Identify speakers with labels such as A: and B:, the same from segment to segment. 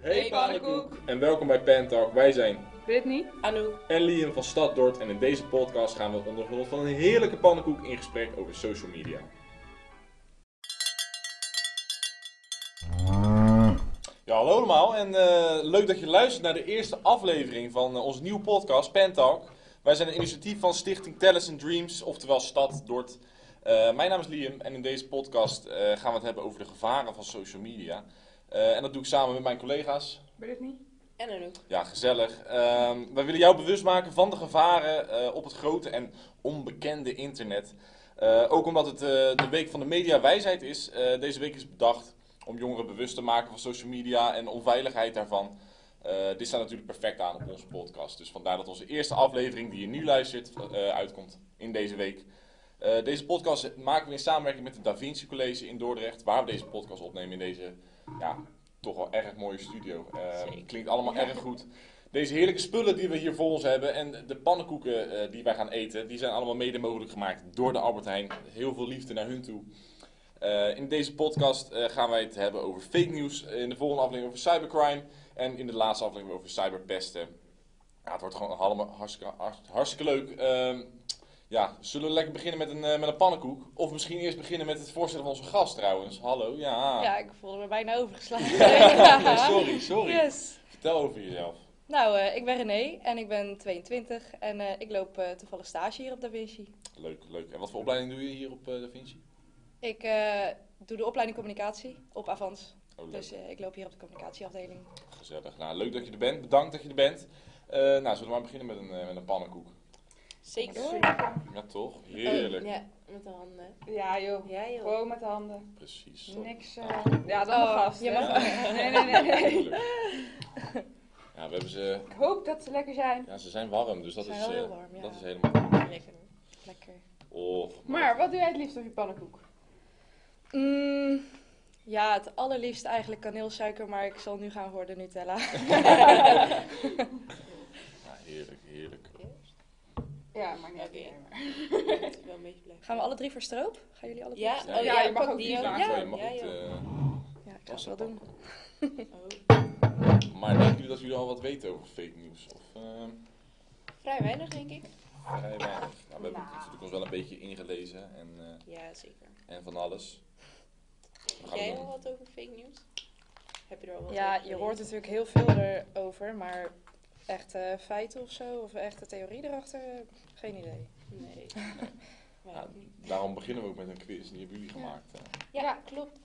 A: Hey
B: pannenkoek.
A: En welkom bij Pentalk. Wij zijn
B: Brittany. Anouk.
A: en Liam van Staddort en in deze podcast gaan we onder genot van een heerlijke pannenkoek in gesprek over social media. Ja, hallo allemaal en eh, leuk dat je luistert naar de eerste aflevering van eh, onze nieuwe podcast Pentalk. Wij zijn een initiatief van Stichting Talents and Dreams, oftewel Stad Dort. Eh, mijn naam is Liam en in deze podcast eh, gaan we het hebben over de gevaren van social media. Eh, en dat doe ik samen met mijn collega's.
B: Brittany.
C: En Anouk.
A: Ja, gezellig. Ehm, wij willen jou bewust maken van de gevaren eh, op het grote en onbekende internet. Eh, ook omdat het eh, de week van de mediawijsheid is. Eh, deze week is bedacht om jongeren bewust te maken van social media en de onveiligheid daarvan. Eh, dit staat natuurlijk perfect aan op onze podcast. Dus vandaar dat onze eerste aflevering die je nu luistert eh, uitkomt in deze week. Eh, deze podcast maken we in samenwerking met het Da Vinci College in Dordrecht, waar we deze podcast opnemen in deze ja, toch wel erg mooie studio. Eh,
C: Zeker.
A: klinkt allemaal erg goed. Deze heerlijke spullen die we hier voor ons hebben en de pannenkoeken eh, die wij gaan eten, die zijn allemaal mede mogelijk gemaakt door de Albert Heijn. Heel veel liefde naar hun toe. Eh, in deze podcast eh, gaan wij het hebben over fake news, in de volgende aflevering over cybercrime en in de laatste aflevering over cyberpesten. Ja, het wordt gewoon allemaal hartstikke, hartst- hartstikke leuk. Ehm, ja, zullen we lekker beginnen met een, eh, met een pannenkoek? Of misschien eerst beginnen met het voorstellen van onze gast trouwens. Hallo, ja.
C: Ja, ik voelde me bijna overgeslagen.
A: Ah. Ja, sorry, sorry.
C: Yes.
A: Vertel over jezelf.
C: Nou, eh, ik ben René en ik ben 22 en eh, ik loop eh, toevallig stage hier op Da Vinci.
A: Leuk, leuk. En wat voor opleiding doe je hier op eh Da Vinci?
C: Ik eh, doe de opleiding communicatie op Avans.
A: Oh, leuk.
C: Dus eh, ik loop hier op de communicatieafdeling.
A: Gezellig. Nou, leuk dat je er bent. Bedankt dat je er bent. Eh, nou, zullen we maar beginnen met een, eh, met een pannenkoek?
C: Zeker.
A: Ja, toch? Heerlijk.
C: Ja, met de handen.
B: Ja joh.
C: Ja, joh.
B: Gewoon met de handen.
A: Precies.
B: Niks.
A: Ja.
B: eh, Ja, dat mag
C: Oh,
B: vast.
C: je
B: hè?
C: mag
A: niet.
B: Nee, nee, nee. nee.
A: Tuurlijk. Ja, we hebben ze...
B: Ik hoop dat ze lekker zijn.
A: Ja, ze zijn warm, dus dat
C: Ze zijn
A: is...
C: wel heel
A: eh,
C: warm, ja.
A: Dat is helemaal goed. Oh,
C: Lekker. Lekker.
A: Och,
B: Maar wat doe jij het liefst op je pannenkoek?
C: Mm, ja, het allerliefst eigenlijk kaneelsuiker, maar ik zal nu gaan voor de Nutella.
A: Ja, heerlijk, heerlijk.
B: Ja, maar niet.
D: Oké.
B: meer, maar-
D: Dat is wel een beetje blij.
C: Gaan we alle drie voor stroop? Gaan jullie alle drie
D: Ja,
C: voor
D: oh,
C: stroop?
D: ja,
B: Ja, je
D: ik
B: mag
D: pak
B: ook
D: die
B: kiezen.
D: ook.
A: Ja,
C: Ja,
A: je mag
D: ja,
A: niet...
D: joh.
A: eh,
C: Ja, ik ga
A: was
C: het wel
A: dat
C: doen.
D: Oh,
A: Maar denken jullie dat jullie al wat weten over fake news? Of eh,
D: vrij weinig, denk ik.
A: vrij weinig? Nou, we hebben
B: Nou.
A: het natuurlijk ons wel een beetje ingelezen en, eh,
D: Ja, zeker.
A: en van alles.
D: Weet
A: gaan
D: jij
A: doen.
D: al wat over fake news? Heb je er al wat
C: Ja,
D: over
C: je hoort
D: gelezen?
C: natuurlijk heel veel erover, maar echt eh, feiten of zo, of echte theorie erachter, eh, geen idee.
D: Nee. Wij
A: Ja,
D: ook niet.
A: daarom beginnen we ook met een quiz, die hebben jullie gemaakt. hè.
D: Ja,
B: Ja.
D: klopt.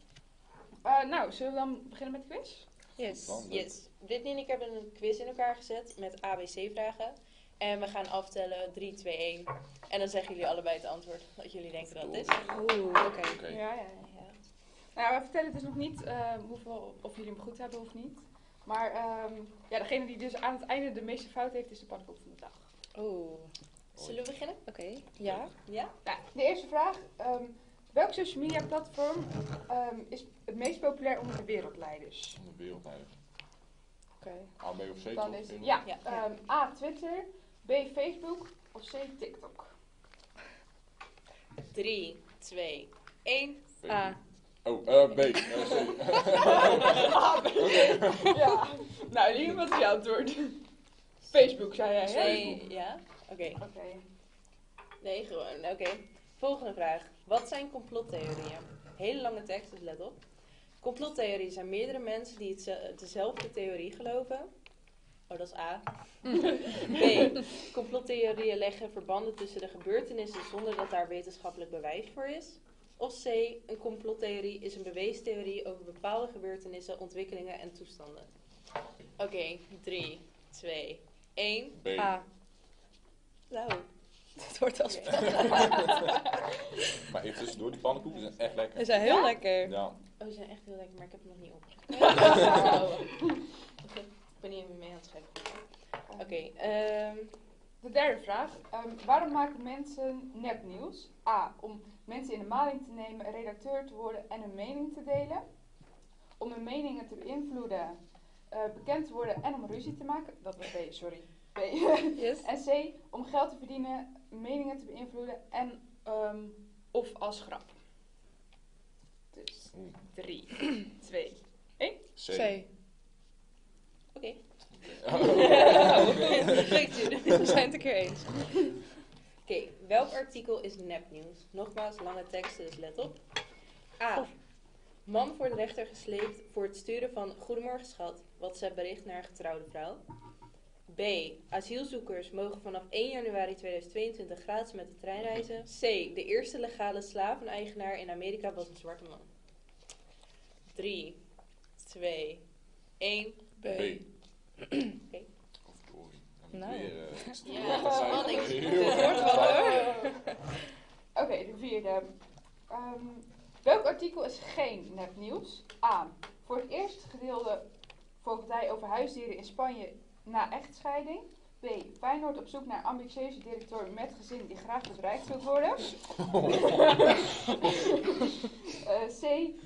B: Eh, nou, zullen we dan beginnen met de quiz?
C: Yes.
A: Dan leuk.
D: Yes. Brittany en ik hebben een quiz in elkaar gezet met ABC-vragen. En we gaan aftellen 3, 2, 1. En dan zeggen jullie allebei het antwoord dat jullie denken dat het is.
C: Oeh, oké.
A: Oké.
B: Ja, ja, ja. Nou, we vertellen dus nog niet eh, hoeveel, of jullie hem goed hebben of niet. Maar ehm, ja, degene die dus aan het einde de meeste fout heeft, is de pannenkoek van de dag.
C: Oeh, oké.
D: Zullen we beginnen?
C: Ja.
D: Ja?
B: Nou, de eerste vraag. ehm, welk social media platform ehm, is het meest populair onder de wereldleiders?
A: Van de wereld eigenlijk.
C: Oké.
A: A, B of C?
B: Dan
A: toch?
B: is ja,
D: Ja.
B: ehm, A. Twitter, B. Facebook of C. TikTok.
D: 3, 2, 1.
A: B.
C: Ah,
A: Oh, eh, B. Eh, sorry.
B: ja. Nou, Liam, wat is je antwoord? Facebook, zei jij, hè?
D: Twee. Ja? Oké.
B: Oké.
D: Nee, gewoon. Oké. Volgende vraag. Wat zijn complottheorieën? Hele lange tekst, dus let op. Complottheorieën zijn meerdere mensen die hetze- dezelfde theorie geloven. Oh, dat is A. B. Complottheorieën leggen verbanden tussen de gebeurtenissen zonder dat daar wetenschappelijk bewijs voor is. Of C. Een complottheorie is een beweestheorie over bepaalde gebeurtenissen, ontwikkelingen en toestanden. Oké, 3, 2, 1.
A: B.
C: ah. Nou, dat wordt als
D: Oké.
A: Maar even tussendoor, die pannenkoeken zijn echt lekker.
C: Is hij heel
B: Ja?
C: lekker.
A: Ja,
D: Oh, ze zijn echt heel lekker, maar ik heb het nog niet opgeschreven. ik ben niet even mee aan het schrijven. Oké, ehm,
B: De derde vraag. Ehm, waarom maken mensen nepnieuws? A. Om mensen in de maling te nemen, redacteur te worden en hun mening te delen. Om hun meningen te beïnvloeden, eh, bekend te worden en om ruzie te maken. Dat was B, sorry. B.
C: Yes.
B: en C. Om geld te verdienen, meningen te beïnvloeden en ehm, of als grap. Dus
A: Oeh.
B: 3, 2,
A: C.
C: C.
A: Oh.
D: Leuk, Jude.
C: We zijn het een keer eens.
D: Oké, welk artikel is nepnieuws? Nogmaals, lange teksten, dus let op. A. Man voor de rechter gesleept voor het sturen van Goedemorgen schat, WhatsApp bericht naar een getrouwde vrouw. B. Asielzoekers mogen vanaf 1 januari 2022 gratis met de trein reizen. C. De eerste legale slaveneigenaar in Amerika was een zwarte man. 3, 2, 1.
C: B.
A: B.
D: Oké.
A: Of Dory.
C: Nou.
D: Ja,
A: dat
D: man, ik
A: zijn
D: het wordt wel hoor.
B: Oké, de vierde. Ehm, welk artikel is geen nepnieuws? A. Voor het eerst gedeelde voogdij over huisdieren in Spanje na echtscheiding. B. Feyenoord op zoek naar ambitieuze directeur met gezin die graag bedreigd wil worden. Eh, C.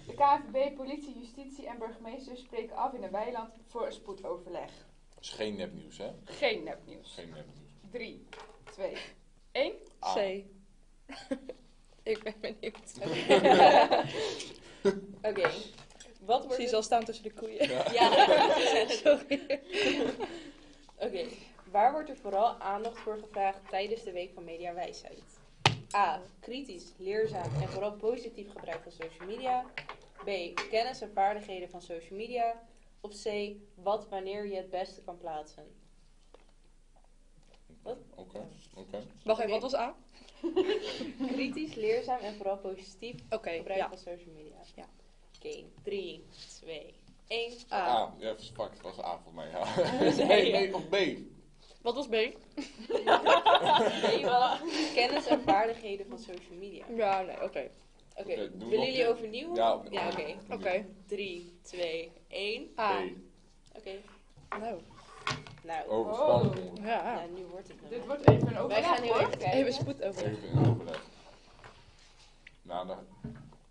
B: De KNVB, politie, justitie en burgemeester spreken af in een weiland voor een spoedoverleg.
A: is geen nepnieuws, hè?
B: Geen nepnieuws.
A: Geen nepnieuws.
B: 3, 2, 1.
A: Ah.
C: C. ik ben benieuwd.
D: Oké. Wat wordt
C: Precies
D: het-
C: al staan tussen de koeien.
D: Ja.
C: Sorry.
D: Oké, waar wordt er vooral aandacht voor gevraagd tijdens de Week van Mediawijsheid? A. Kritisch, leerzaam en vooral positief gebruik van social media. B. Kennis en vaardigheden van social media. Of C. Wat wanneer je het beste kan plaatsen. Wat?
A: Oké, oké.
C: Wacht even, wat was A?
D: Kritisch, leerzaam en vooral positief
C: Oké,
D: gebruik
C: ja.
D: van social media.
C: Ja.
D: Oké, 3, 2, 1.
C: A.
A: A. Ah, Ja, fuck, het was A volgens mij. Ja.
D: Nee,
A: Nee, nee, of B.
C: Wat was B?
D: Nee, wel. Kennis en vaardigheden van social media.
C: Ja, nee, oké.
D: Oké,
A: Oké, doen we nog
D: willen
A: een
D: jullie
A: keer?
D: overnieuw?
A: Ja, op-
D: ja oké.
C: Oké. Ah.
D: 3, 2, 1.
C: A.
A: B.
D: Oké.
C: Nou,
D: Nou,
A: Oh, spannend. jongen.
C: ja.
D: nou, nu wordt het
B: Dit
D: hem.
B: wordt even een
D: Wij gaan
B: overleg
D: heel
B: hoor.
D: even
C: Even
D: kijken.
C: spoed over.
A: Even in overleg. Nou, daar.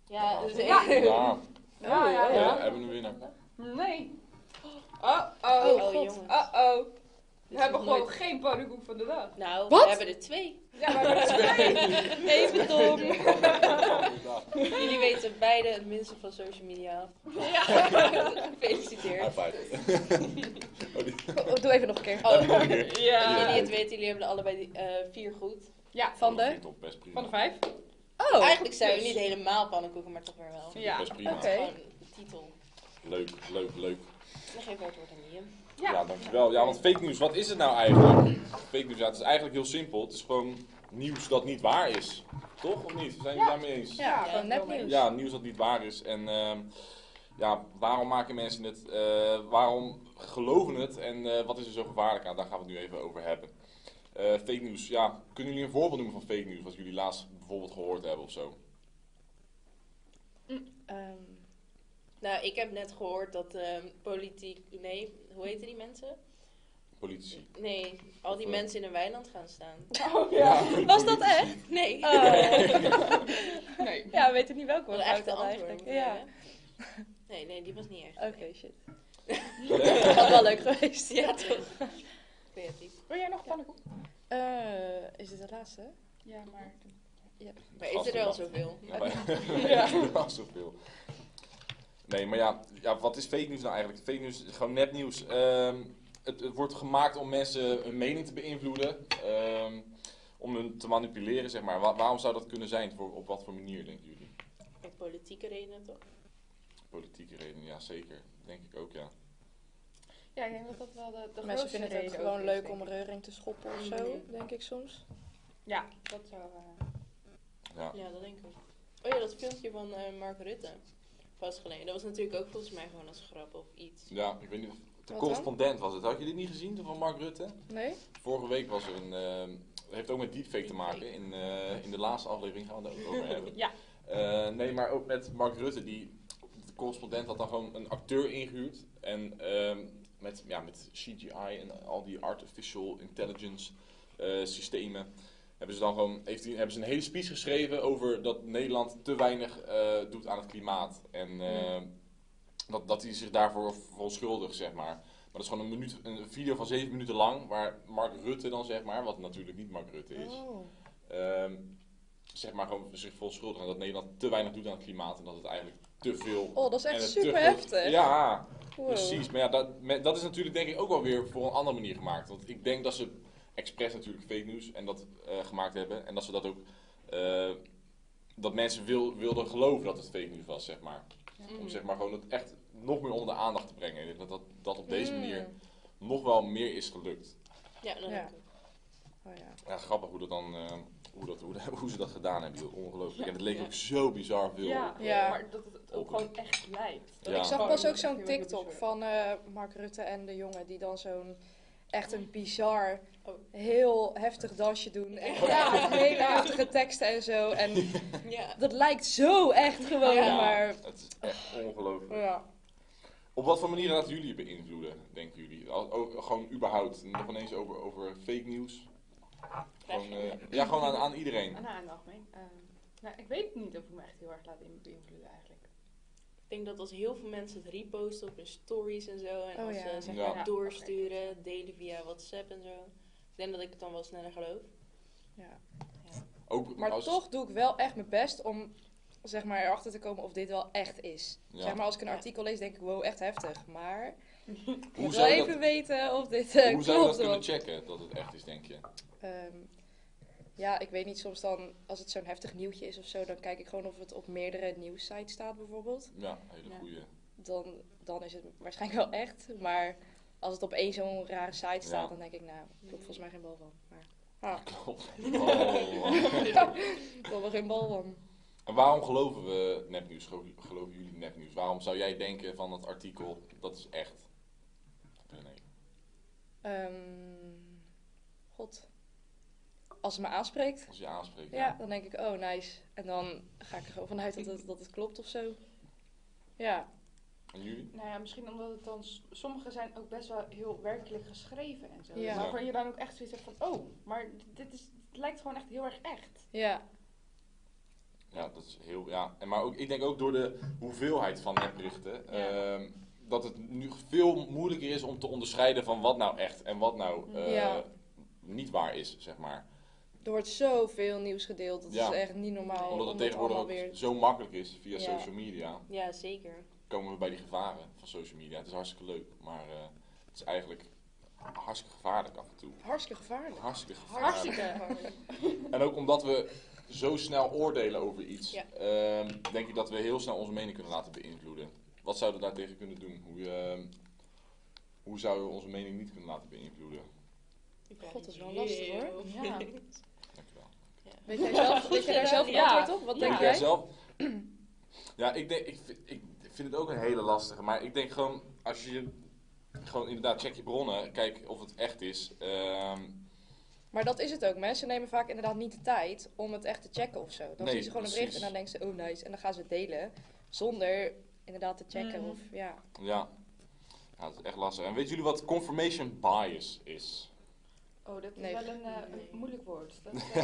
D: Ja, dus
B: Ja.
D: even-
A: Ja,
B: Ja,
C: Oh,
B: ja,
A: ja,
B: ja.
A: hebben we een winnaar.
B: Nee. Oh, oh.
D: Oh,
C: God.
D: jongens.
B: Oh, oh.
D: Dit
B: We
D: is
B: hebben
D: nog
B: gewoon
D: nooit-
B: geen pannenkoek van de dag.
D: Nou,
C: Wat?
D: we hebben er twee.
B: Ja, maar we hebben
C: Even dom.
D: Jullie weten beide het minste van social media af.
A: High
D: Gefeliciteerd.
A: five.
C: Oh, Doe even nog een keer.
D: Oh,
A: Nog een keer.
D: Jullie
A: Ja.
D: het weten, jullie hebben er allebei die- eh, vier goed.
B: Ja,
C: Oh, Van de?
A: Vind ik toch best prima.
B: van de vijf.
C: Oh,
D: Eigenlijk zijn we
B: dus-
D: niet helemaal pannenkoeken, maar toch weer wel.
B: Ja.
A: Best prima.
C: Oké.
D: Gewoon de titel.
A: Leuk, leuk, leuk.
D: Dan geef ik het woord aan Liam.
A: Ja.
B: Ja.
A: dankjewel. Ja, want fake news, wat is het nou eigenlijk? Fake news, ja, het is eigenlijk heel simpel. Het is gewoon nieuws dat niet waar is. Toch? Of niet? Zijn jullie
B: Ja.
A: daarmee eens?
C: ja,
D: Ja,
C: gewoon nepnieuws.
A: Ja, nieuws dat niet waar is. En ehm, ja, waarom maken mensen het? Eh, waarom geloven het? En eh, wat is er zo gevaarlijk aan? Daar gaan we het nu even over hebben. Eh, fake news, ja. Kunnen jullie een voorbeeld noemen van fake news? Wat jullie laatst bijvoorbeeld gehoord hebben of zo?
C: Ehm,
D: Nou, ik heb net gehoord dat ehm, politiek... Nee, hoe heten die mensen?
A: Politici.
D: Nee, al die
A: Of, eh,
D: mensen in een weiland gaan staan. Oh.
B: Oh ja.
C: Was dat echt?
D: Nee.
B: Nee.
C: oh. Ja, we weten niet welke
D: Wel
C: was
D: echt
C: uit
D: de
C: dat
D: antwoord.
C: eigenlijk.
D: moeten
C: Ja.
D: hebben. Nee, nee, die was niet echt.
C: Oké, shit. Dat was wel leuk geweest.
D: Ja, toch? Creatief.
C: Wil jij nog pannenkoek? Eh, is dit de laatste?
B: Ja, maar.
D: Maar is er wel zoveel?
A: Ja, maar-
C: Ja.
A: er was zoveel. Nee, maar ja, ja, wat is fake news nou eigenlijk? Fake news is gewoon nepnieuws. Ehm het, het wordt gemaakt om mensen hun mening te beïnvloeden. ehm, om hun te manipuleren, zeg maar. Wa- waarom zou dat kunnen zijn? Voor, op wat voor manier, denken jullie?
D: Om politieke redenen toch?
A: Politieke redenen, ja zeker. Denk ik ook, ja.
B: Ja, ik denk dat dat wel de, de
C: Mensen
B: grootste
C: vinden het
B: reden
C: ook gewoon
B: ook is,
C: leuk
B: denk
C: om
B: ik.
C: reuring te schoppen of zo,
D: Mhm.
C: denk ik soms.
B: Ja, dat zou. eh,
A: ja.
D: Ja, dat denk ik. ook. Oh ja, dat filmpje van eh, Mark Rutte. Vastgeleden. Dat was natuurlijk ook volgens mij gewoon als grap of iets.
A: Ja, ik weet niet of... De
C: dan?
A: correspondent was het. Had je dit niet gezien van Mark Rutte?
C: Nee?
A: Vorige week was er een. ehm, dat heeft ook met deepfake te maken. In, eh, in de laatste aflevering gaan we het daar ook over hebben.
B: Ja.
A: Eh, nee, maar ook met Mark Rutte. Die, de correspondent had dan gewoon een acteur ingehuurd. En ehm, met, ja, met CGI en al die artificial intelligence eh, systemen. Hebben ze dan gewoon, heeft hij, hebben ze een hele speech geschreven over dat Nederland te weinig eh, doet aan het klimaat. En eh,
C: Mm.
A: dat, dat hij zich daarvoor verontschuldigt, zeg maar. Maar dat is gewoon een, minuut, een video van zeven minuten lang, waar Mark Rutte dan, zeg maar, wat natuurlijk niet Mark Rutte is,
C: Oh.
A: ehm, zeg maar gewoon zich verontschuldigt aan dat Nederland te weinig doet aan het klimaat en dat het eigenlijk te veel...
C: Oh, dat is
A: en
C: echt
A: het te
C: super
A: groot-
C: heftig.
A: Ja,
C: Wow.
A: Precies, maar ja, dat, me- dat is natuurlijk denk ik ook wel weer voor een andere manier gemaakt. Want ik denk dat ze expres natuurlijk fake news en dat eh, gemaakt hebben. En dat ze dat ook, eh, dat mensen wil, wilden geloven dat het fake news was, zeg maar.
D: Mm.
A: Om zeg maar gewoon het echt nog meer onder de aandacht te brengen. Ik denk Dat dat, dat op deze
C: Mm.
A: manier nog wel meer is gelukt.
D: Ja, dan
C: Ja.
D: heb ik het.
C: Oh ja.
A: Ja, grappig hoe dat dan, eh, hoe, dat, hoe, hoe ze dat gedaan hebben. joh. Ongelooflijk. En het leek ook zo bizar veel.
B: Ja,
A: op, eh,
C: Ja.
B: maar dat het ook gewoon echt lijkt. Dat
A: Ja.
C: Ik zag
B: gewoon
C: pas ook
B: echt
C: zo'n
B: heel erg
C: TikTok
B: bezorgd.
C: van eh, Mark Rutte en de jongen die dan zo'n echt een bizar,
D: Oh.
C: heel heftig dansje doen en
D: Ja.
C: hele heftige teksten en zo. En
D: Ja.
C: dat lijkt zo echt gewoon,
A: Ja,
C: maar
A: het is echt ongelooflijk.
C: ja.
A: Op wat voor manier laten jullie het beïnvloeden, denken jullie? Al- ook gewoon überhaupt, nog ineens over, over fake news. Gewoon, eh, ja, gewoon aan, aan iedereen.
B: Ah, nou, en algemeen. ehm, nou, ik weet niet of ik me echt heel erg laat in- beïnvloeden eigenlijk.
D: Ik denk dat als heel veel mensen het reposten op hun stories en zo. En
C: Oh
D: als
C: ja.
D: ze zeg
A: Ja.
D: maar doorsturen, delen via WhatsApp en zo. Ik denk dat ik het dan wel sneller geloof.
C: ja.
A: Ook
C: Maar
A: als,
C: toch doe ik wel echt mijn best om zeg maar erachter te komen of dit wel echt is.
A: Ja.
C: Zeg maar als ik een
D: Ja.
C: artikel lees denk ik wow echt heftig, maar ik
A: Hoe
C: moet wel
A: zou je
C: even
A: dat,
C: weten of dit eh,
A: hoe
C: klopt.
A: zou je dat kunnen
C: want-
A: checken, dat het echt is, denk je?
C: Ehm, ja, ik weet niet, soms dan, als het zo'n heftig nieuwtje is of zo, dan kijk ik gewoon of het op meerdere nieuwssites staat bijvoorbeeld.
A: Ja, hele
B: Ja.
A: goede.
C: Dan, dan is het waarschijnlijk wel echt. Maar als het op één zo'n rare site staat,
A: Ja.
C: dan denk ik, nou, klopt volgens mij geen bal van. Maar
A: Klopt. Oh.
C: ik wil er geen bal van.
A: en waarom geloven we nepnieuws? Gelo- Geloven jullie nepnieuws? Waarom zou jij denken van dat artikel, dat is echt? Nee.
C: Ehm, God. Als het me aanspreekt,
A: Als je aanspreekt.
C: ja. dan denk ik, oh nice. En dan ga ik er gewoon vanuit dat het, dat het klopt of zo. Ja.
A: En jullie?
B: Nou ja, misschien omdat het dan... s- Sommige zijn ook best wel heel werkelijk geschreven en zo.
C: Ja.
B: Waarvan je dan ook echt zoiets hebt van... Oh, maar dit is, het lijkt gewoon echt heel erg echt.
C: Ja.
A: Ja, dat is heel. Ja. En maar ook, ik denk ook door de hoeveelheid van nepberichten. ehm, dat het nu veel moeilijker is om te onderscheiden van wat nou echt en wat nou eh,
C: Ja.
A: niet waar is, zeg maar.
C: Er wordt zoveel nieuws gedeeld. Dat
A: Ja.
C: is echt niet normaal.
A: Omdat
C: om
A: het
C: dat
A: tegenwoordig
C: Oh, allemaal weer
A: ook zo makkelijk is via
C: Ja.
A: social media.
D: Ja, zeker.
A: Komen we bij die gevaren van social media. Het is hartstikke leuk, maar eh, het is eigenlijk hartstikke gevaarlijk af en toe.
C: Hartstikke gevaarlijk.
A: Hartstikke gevaarlijk.
B: Hartstikke.
A: En ook omdat we zo snel oordelen over iets,
D: Ja.
A: ehm, denk ik dat we heel snel onze mening kunnen laten beïnvloeden. Wat zouden we daartegen kunnen doen? Hoe, ehm, hoe zouden we onze mening niet kunnen laten beïnvloeden?
C: God, dat is wel lastig, hoor.
B: Ja.
A: Dankjewel.
C: Weet jij, zelf, weet jij daar zelf een
B: Ja.
C: antwoord op? Wat
B: Ja.
C: denk
A: Denk
C: jij?
A: jij zelf? Ja, ik, denk, ik, vind- ik vind het ook een hele lastige. Maar ik denk gewoon, als je gewoon inderdaad check je bronnen, kijk of het echt is. Ehm,
C: Maar dat is het ook. Mensen nemen vaak inderdaad niet de tijd om het echt te checken of zo. Dan
A: Nee,
C: zien ze gewoon een bericht en dan denken
A: precies.
C: ze, oh nice. En dan gaan ze het delen zonder inderdaad te checken.
B: Mhm.
C: Of, ja.
A: ja. ja, dat is echt lastig. En weten jullie wat confirmation bias is?
B: Oh, dat is
C: Nee.
B: wel een eh,
D: Nee.
B: een moeilijk woord. Dat, eh,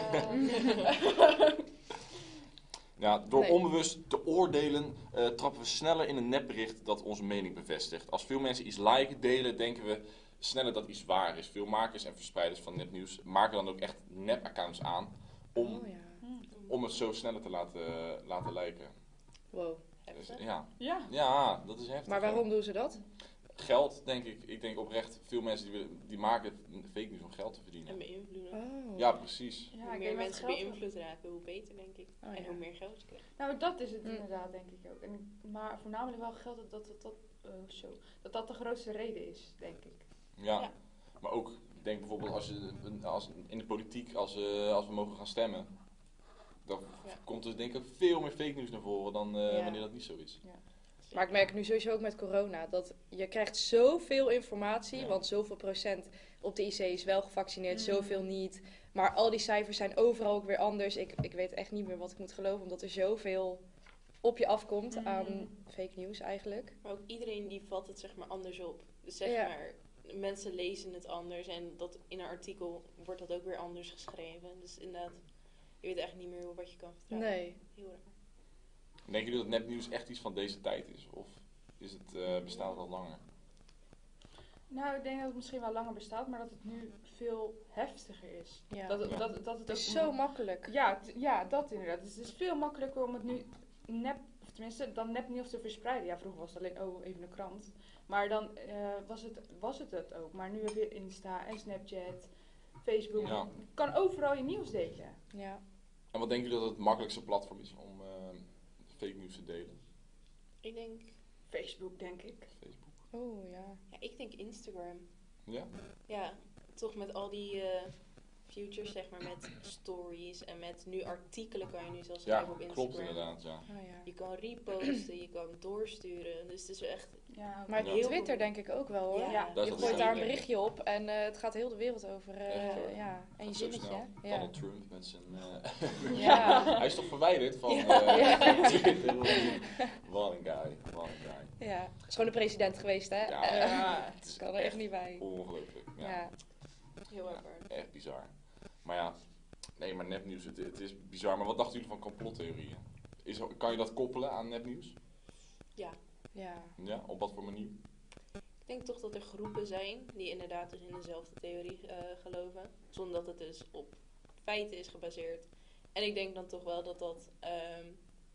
A: Ja, door
C: Nee.
A: onbewust te oordelen eh, trappen we sneller in een nepbericht dat onze mening bevestigt. Als veel mensen iets liken, delen, denken we sneller dat iets waar is. Veel makers en verspreiders van nepnieuws maken dan ook echt nep-accounts aan om,
C: Oh ja.
A: om het zo sneller te laten, eh, laten lijken.
C: Wow.
A: Dus,
D: Heftig.
A: ja.
B: ja.
A: ja, dat is heftig.
C: Maar
A: hè.
C: waarom doen ze dat?
A: Geld, denk ik. Ik denk oprecht, veel mensen die, willen- die maken fake news om geld te verdienen.
D: En beïnvloeden.
C: Oh.
A: Ja, precies.
B: Ja,
D: hoe
B: ik
D: meer
B: denk dat
D: mensen
B: geld-
D: beïnvloed raken, hoe beter, denk ik.
C: Oh,
D: En
C: ja.
D: hoe meer geld ze krijgen.
B: Nou, dat is het
C: Mm.
B: inderdaad, denk ik ook. En, ik- maar voornamelijk wel geldt dat dat, dat, dat, eh, zo, dat dat de grootste reden is, denk ik.
A: Ja.
D: Ja.
A: Maar ook, ik denk bijvoorbeeld als je, een- als, in de politiek, als, eh, als we mogen gaan stemmen, dan
D: Ja.
A: komt er denk ik veel meer fake news naar voren dan eh,
C: Ja.
A: wanneer dat niet zo is.
C: Maar ik merk nu sowieso ook met corona dat je krijgt zoveel informatie,
A: Ja.
C: want zoveel procent op de IC is wel gevaccineerd,
B: Mhm.
C: zoveel niet. Maar al die cijfers zijn overal ook weer anders. Ik, ik weet echt niet meer wat ik moet geloven, omdat er zoveel op je afkomt
B: Mhm.
C: aan fake news eigenlijk.
D: Maar ook iedereen die vat het zeg maar anders op. Dus zeg
C: Ja.
D: maar, mensen lezen het anders en dat in een artikel wordt dat ook weer anders geschreven. Dus inderdaad, je weet echt niet meer wat je kan vertrouwen.
C: Nee.
D: Heel raar.
A: Denken jullie dat nepnieuws echt iets van deze tijd is? Of is het, eh, bestaat het al langer?
B: Nou, ik denk dat het misschien wel langer bestaat, maar dat het nu veel heftiger is.
C: Ja.
B: Dat, het-
A: Ja.
B: dat, dat het
C: Het is
B: ook-
C: zo makkelijk.
B: Ja, t- ja, dat inderdaad. Dus het is veel makkelijker om het nu nep, of tenminste, dan nepnieuws te verspreiden. Ja, vroeger was het alleen, oh, even een krant. Maar dan eh, was, het, was het dat ook. Maar nu heb je Insta en Snapchat, Facebook.
A: Ja.
B: Je kan overal je nieuws delen.
C: Ja.
A: En wat denken jullie dat het makkelijkste platform is om eh, fake nieuws te delen?
D: Ik denk,
B: Facebook, denk ik.
A: Facebook.
C: Oh ja.
D: ja, ik denk Instagram.
A: Ja?
D: Ja, toch met al die eh, futures, zeg maar, met stories en met nu artikelen kan je nu zelfs
A: Ja,
D: schrijven op Instagram.
A: klopt inderdaad, ja.
C: Oh, ja.
D: Je kan reposten, je kan doorsturen. Dus het is echt
B: Ja,
C: Maar
A: Ja.
C: op Twitter denk ik ook wel hoor.
D: Ja.
B: Ja.
A: Dat is
C: Je
A: wat
C: gooit
A: ik
C: daar
A: ook
C: een
A: denk.
C: berichtje op en eh, het gaat heel de wereld over. eh,
A: Echt, hoor.
C: ja, en je
A: Gaat zo
C: zinnetje.
A: snel.
C: hè? Ja.
A: Donald Trump met zijn... eh,
C: Ja.
A: Hij is toch verwijderd van
D: Ja.
A: eh, Twitter? What a guy, what a guy.
C: ja. Het is gewoon de president geweest, hè?
A: Ja.
C: Eh,
B: Ja.
A: Het is
C: Ik kan er echt niet bij.
A: Ongelooflijk, ja.
C: Ja.
D: heel erg hard.
A: Echt bizar. Maar ja, nee, maar nepnieuws, het, het is bizar. Maar wat dachten jullie van complottheorieën? Is, er- kan je dat koppelen aan nepnieuws?
C: ja.
A: Ja, op wat voor manier?
D: Ik denk toch dat er groepen zijn die inderdaad dus in dezelfde theorie eh, geloven. Zonder dat het dus op feiten is gebaseerd. En ik denk dan toch wel dat dat... ehm,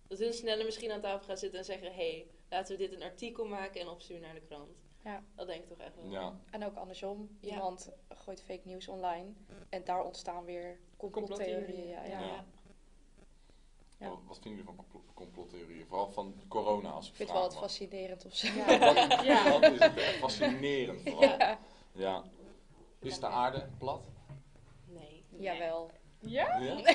D: dat hun sneller misschien aan tafel gaan zitten en zeggen... Hé, hey, laten we dit een artikel maken en opsturen naar de krant.
C: Ja.
D: Dat denk ik toch echt wel.
A: Ja,
C: En ook andersom.
D: Ja.
C: Iemand gooit fake nieuws online en daar ontstaan weer complottheorieën. Ja, ja.
A: Ja.
C: Ja.
A: Wat, wat vinden jullie van complo- complottheorieën? Vooral van corona als
C: Ik vind
A: vraag
C: wel het
A: mag.
C: fascinerend of zo.
B: Ja.
A: Dat,
B: Ja.
A: dat is het echt fascinerend vooral. Ja. Is de aarde plat?
D: Nee.
C: Jawel.
B: Ja?
A: Ja?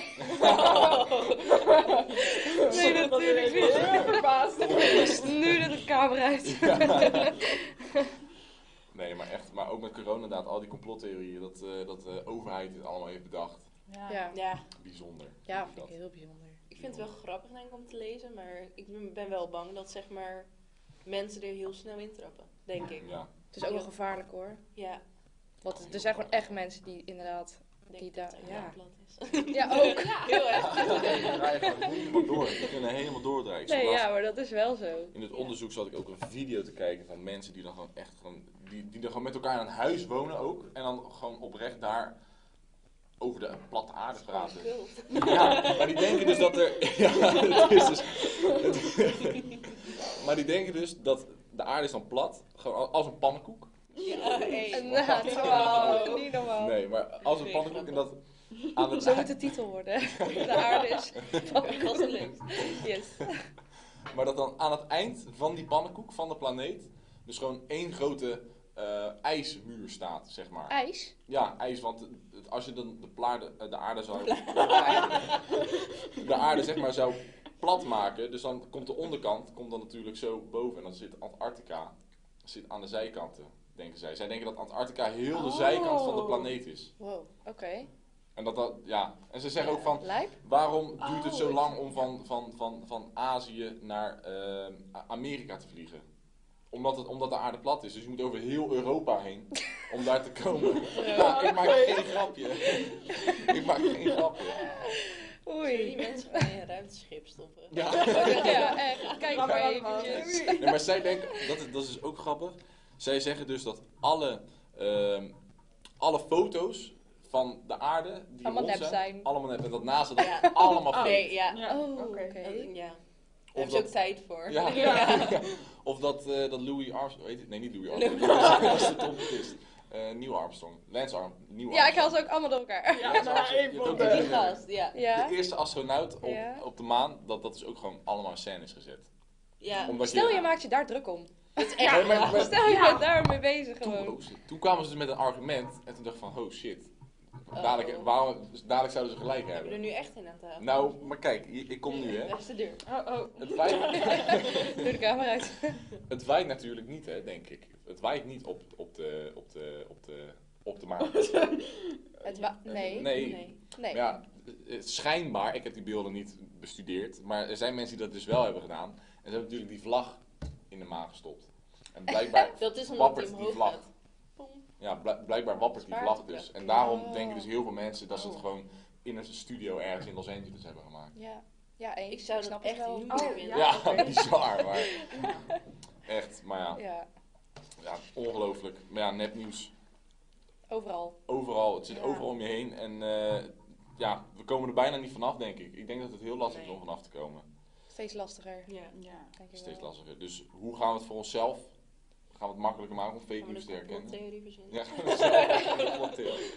C: Nee, natuurlijk
B: Ik
C: niet.
B: ben verbaasd.
C: Dus Nu dat de camera uit.
A: Nee, maar echt, maar ook met corona inderdaad, al die complottheorieën, dat, eh, dat de overheid het allemaal heeft bedacht.
C: Ja.
D: Ja,
A: Bijzonder.
C: ja,
A: vind
C: vind
A: dat.
C: ik heel bijzonder.
D: ik vind het wel grappig denk ik om te lezen. Maar ik ben- ben wel bang dat zeg maar mensen er heel snel in trappen. Denk ik.
A: Ja,
C: Het is ook wel gevaarlijk hoor.
D: Ja.
C: Want het- er zijn gewoon echt mensen die inderdaad...
D: ik Denk
C: Die
D: dat
C: daar-
D: het
C: ja.
D: ja. plat is.
C: Ja, ook.
D: Heel erg.
A: We draaien gewoon helemaal door. We kunnen helemaal doordraaien. Ik zag
C: Nee,
A: laatst-
C: ja, maar dat is wel zo.
A: In het
D: Ja.
A: onderzoek zat ik ook een video te kijken van mensen die dan gewoon echt gewoon, die, die dan gewoon met elkaar in een huis wonen ook. En dan gewoon oprecht daar over de platte aarde praten.
C: Oh,
D: Cult.
A: Ja, maar die denken dus dat er. Ja, het is dus, maar die denken dus dat de aarde is dan plat, gewoon al- als een pannenkoek.
D: Ja, hey.
C: Nou,
A: Wow.
C: normaal. Niet normaal.
A: Nee, maar als een pannenkoek en dat aan het
C: Zo moet de titel worden. De aarde is...
D: Als het lukt.
C: Yes.
A: Maar dat dan aan het eind van die pannenkoek, van de planeet, dus gewoon één grote eh, ijsmuur staat, zeg maar.
C: IJs?
A: Ja, ijs, want het- als je dan de, plaarde, eh, de aarde zou... de aarde, zeg maar, zou plat maken, dus dan komt de onderkant, komt dan natuurlijk zo boven. En dan zit Antarctica zit aan de zijkanten, denken zij. Zij denken dat Antarctica heel de
B: Oh.
A: zijkant van de planeet is.
C: Wow, oké.
A: En dat dat, ja. En ze zeggen ook van,
C: Lijp?
A: Waarom duurt het
B: Oh,
A: zo
B: ik-
A: lang om van, van, van, van Azië naar ehm, A- Amerika te vliegen? Omdat, het, omdat de aarde plat is. Dus je moet over heel Europa heen om daar te komen. Ja, ik maak geen grapje. ik maak geen grapje.
D: Zullen die
C: Oei.
D: mensen gewoon in een ruimteschip stoppen?
A: Ja.
C: Ja, echt. Kijk
B: Laat maar
C: maar
B: allemaal.
C: eventjes.
A: Nee, maar zij denken, dat is, dat is dus ook grappig. Zij zeggen dus dat alle, ehm, alle foto's van de aarde die
C: Allemaal
A: rond
C: nep zijn.
A: allemaal nep. En dat NASA dat
D: Ja.
A: allemaal
D: Oh,
A: fake
D: nee, ja.
B: Ja,
C: Oh, oké.
D: Dat- ja. Daar
A: Of
D: heb je ook
A: dat-
D: tijd voor.
A: Ja.
B: Ja.
A: Of dat, eh, dat Louis Armstrong, weet je- nee niet Louis Armstrong, dat was de trompetist. Eh Nieuw Armstrong, Lance Arm, Nieuw
C: Ja, ik haal
A: Armstrong.
C: ze ook allemaal door elkaar.
B: Ja, nou
A: Je
B: één
A: doet
B: van
A: het
D: Die
B: de...
A: niet.
D: gast, ja.
C: Ja.
A: De eerste astronaut op,
C: Ja.
A: op de maan, dat, dat is ook gewoon allemaal in scène is gezet.
D: Ja,
A: Omdat
C: Stel, je maakt je daar druk om.
A: echt nee, maar, maar-
C: Stel, je
B: Ja.
C: bent daarmee bezig
A: toen,
C: gewoon.
A: oh shit. toen kwamen ze dus met een argument en toen dacht ik van, oh shit.
D: Oh.
A: Dadelijk, waarom, dus dadelijk zouden ze gelijk
D: hebben we
A: hebben.
D: er nu echt in aan tafel.
A: Nou, maar kijk, hier- ik kom nu hè.
D: Dat is de deur.
B: Oh, oh.
A: Het waait,
C: Doe de camera uit.
A: het waait natuurlijk niet hè, denk ik. Het waait niet op, op, de, op, de, op, de, op de maan.
C: Het wa- nee. Nee.
A: Nee, Maar ja, eh, eh, schijnbaar, ik heb die beelden niet bestudeerd, maar er zijn mensen die dat dus wel hebben gedaan. En ze hebben natuurlijk die vlag in de maan gestopt. En blijkbaar,
D: Dat is omdat
A: Wappert
D: hij
A: die
D: omhoog
A: vlag.
D: gaat. Pom.
A: ja, bl- blijkbaar wappert die vlag dus. En daarom denken dus heel veel mensen dat ze het gewoon in een studio ergens in Los Angeles hebben gemaakt.
C: Ja. Ja, eens.
D: Ik zou dat
C: snap
D: echt
C: het wel.
D: niet
B: Oh,
A: Ja,
D: vinden.
B: Ja, oké.
A: bizar, maar echt, maar ja,
C: Ja,
A: ja ongelooflijk. Maar ja, nepnieuws,
C: overal.
A: overal, het zit
C: Ja.
A: overal om je heen en eh, ja, we komen er bijna niet vanaf denk ik. Ik denk dat het heel lastig is
D: Nee.
A: om vanaf te komen.
C: Steeds lastiger,
D: Ja.
B: Ja.
C: denk ik
A: Steeds
C: wel.
A: lastiger. Dus hoe gaan we het voor onszelf? Gaan we het makkelijker maken om fake
D: Gaan we
A: news te
D: de
A: herkennen?
D: complottheorie verzinnen?
A: Ja, gaan we het zelf complottheorie.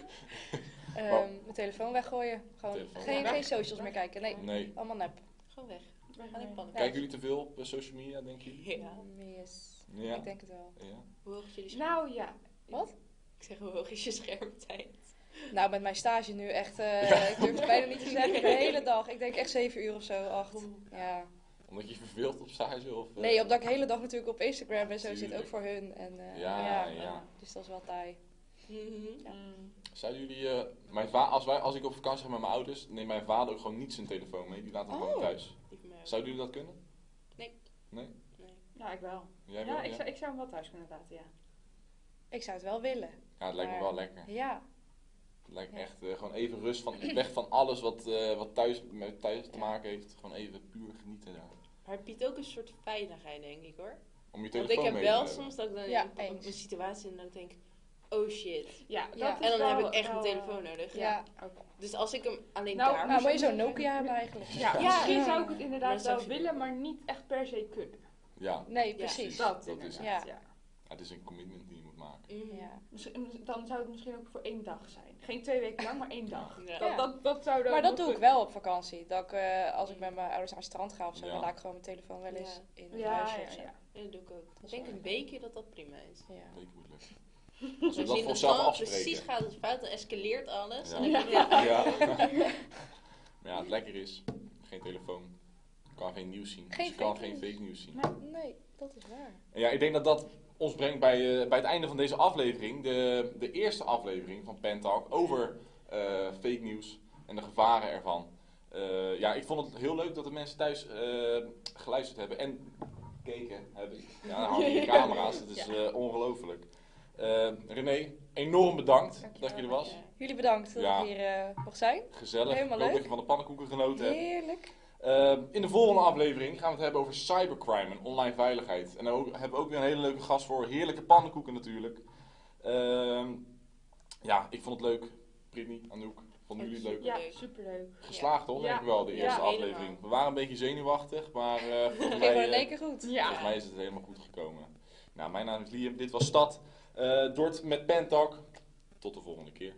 C: Ehm, mijn telefoon weggooien. Gewoon
A: Telefoon
C: geen,
A: weg.
C: geen socials meer kijken. Nee,
A: Nee.
C: allemaal nep.
D: Gewoon weg.
B: Weg
D: Gaan
B: ermee.
D: in pannen.
A: Kijken jullie te veel op eh, social media, denk je?
D: Ja.
C: Yes.
A: Ja.
C: Ik denk het wel.
A: Ja.
D: Hoe hoog is jullie scherm?
B: Nou ja.
C: Wat?
D: Ik zeg, hoe hoog is je schermtijd?
C: Nou, met mijn stage nu echt, eh,
A: Ja.
C: ik durf het bijna niet te zeggen, de hele dag. Ik denk echt zeven uur of zo, acht.
D: Oeh.
C: Ja.
A: Omdat je je verveelt op stage? Of, eh,
C: Nee, omdat ik de hele dag natuurlijk op Instagram en zo zit,
A: Tuurlijk.
C: ook voor hun. En, eh,
A: Ja,
C: ja,
A: ja.
C: Dus dat is wel taai.
D: Mhm.
B: Mm,
A: Zouden jullie, eh, mijn va- als, wij, als ik op vakantie ga met mijn ouders, neemt mijn vader ook gewoon niet zijn telefoon mee. Die laat hem gewoon
C: Oh.
A: thuis.
D: Die van mij ook.
A: Zouden jullie dat kunnen?
D: Nee.
B: Ja, ik wel.
A: Jij
B: ja,
A: wel,
B: ik, Zou, ik zou hem wel thuis kunnen laten, ja.
C: Ik zou het wel willen.
A: Ja, het lijkt me
C: maar-
A: wel lekker.
C: Ja.
A: Het lijkt me
C: Ja.
A: echt eh, gewoon even rust van, weg van alles wat, eh, wat thuis, met thuis te
C: Ja.
A: maken heeft. Gewoon even puur genieten daar.
D: Maar het biedt ook een soort veiligheid, denk ik hoor.
A: Om je
D: Want
A: telefoon
D: ik heb
A: mee
D: wel
A: te hebben.
D: soms dat ik dan
C: Ja,
D: in een- op
C: eens.
D: een situatie en dan denk ik, oh shit.
B: Ja,
C: Ja.
B: dat is
D: En dan
B: wel-
D: heb ik echt
B: wel,
D: mijn telefoon
B: eh,
D: nodig.
C: Ja.
B: oké.
D: Dus als ik hem alleen
B: Nou,
D: daar
C: Nou,
D: moet
C: moet je zo'n Nokia hebben eigenlijk.
B: Ja,
C: Ja.
B: misschien
C: Ja.
B: zou ik het
D: Maar
B: inderdaad
D: zou
B: wel
D: je-
B: willen, maar niet echt per se kunnen.
A: Ja.
C: Nee,
D: Ja.
C: precies.
A: Precies.
C: Ja.
B: Dat,
A: dat is
B: is
A: het.
B: ja.
A: Ja, het is een commitment die je moet maken.
D: Mhm.
B: Misschien- Dan zou het misschien ook voor één dag zijn. Geen twee weken lang, maar één dag.
D: Ja.
B: Dat, dat, dat zou dan
C: Maar dat
B: nog
C: doe ik
B: kunnen.
C: wel op vakantie. Dat ik, eh, als ik met mijn ouders naar het strand ga of zo,
A: Ja.
C: dan laat ik gewoon mijn telefoon wel eens
D: Ja.
C: in het
B: Ja,
C: huisje
B: ja,
C: of zo.
B: ja.
D: Ja, dat doe ik ook. Ik
C: is
D: denk
C: wel
D: een
C: lekker.
D: weekje dat dat prima is.
C: Ja.
A: Weet je hoe het lukt. Als we
D: Als
A: dat
D: je
A: voor
D: in de
A: onszelf
D: plan precies
A: afspreken.
D: gaat het fout, dan escaleert alles.
A: Ja.
D: En dan denk ik,
A: Ja.
D: ja.
A: maar ja, het lekker is. Geen telefoon. Je kan geen nieuws zien.
C: Geen
A: dus je kan
C: fake
A: geen
C: news.
A: fake news zien.
C: Nee, dat is waar.
A: En ja, ik denk dat dat ons brengt bij, eh, bij het einde van deze aflevering. De, de eerste aflevering van Pentalk over eh, fake news en de gevaren ervan. Eh, ja, ik vond het heel leuk dat de mensen thuis eh, geluisterd hebben en gekeken hebben. Ja, dan hangen hier camera's. Dat is eh, ongelooflijk. Eh, René, enorm bedankt
B: Dankjewel.
A: dat je er was.
C: Jullie bedankt dat
A: Ja.
C: ik hier eh, mocht zijn.
A: Gezellig.
C: Helemaal
A: ik hoop
C: leuk.
A: dat je van de pannenkoeken genoten hebt.
C: Heerlijk.
A: Ehm, in de volgende aflevering gaan we het hebben over cybercrime en online veiligheid. En daar ook- hebben we ook weer een hele leuke gast voor. Heerlijke pannenkoeken natuurlijk. Ehm, ja, ik vond het leuk. Britney, Anouk, vonden jullie het leuk?
B: Ja,
D: Leuk.
B: superleuk.
A: Geslaagd hoor, denk ik wel, de
B: Ja,
A: eerste
D: helemaal.
A: aflevering. We waren een beetje zenuwachtig, maar eh, volgens,
C: Ging
A: mij,
C: gewoon
A: eh,
C: in één keer goed.
B: Ja.
A: volgens mij is het helemaal goed gekomen. Nou, mijn naam is Liam, dit was Stad. eh Dort met Pentalk. Tot de volgende keer.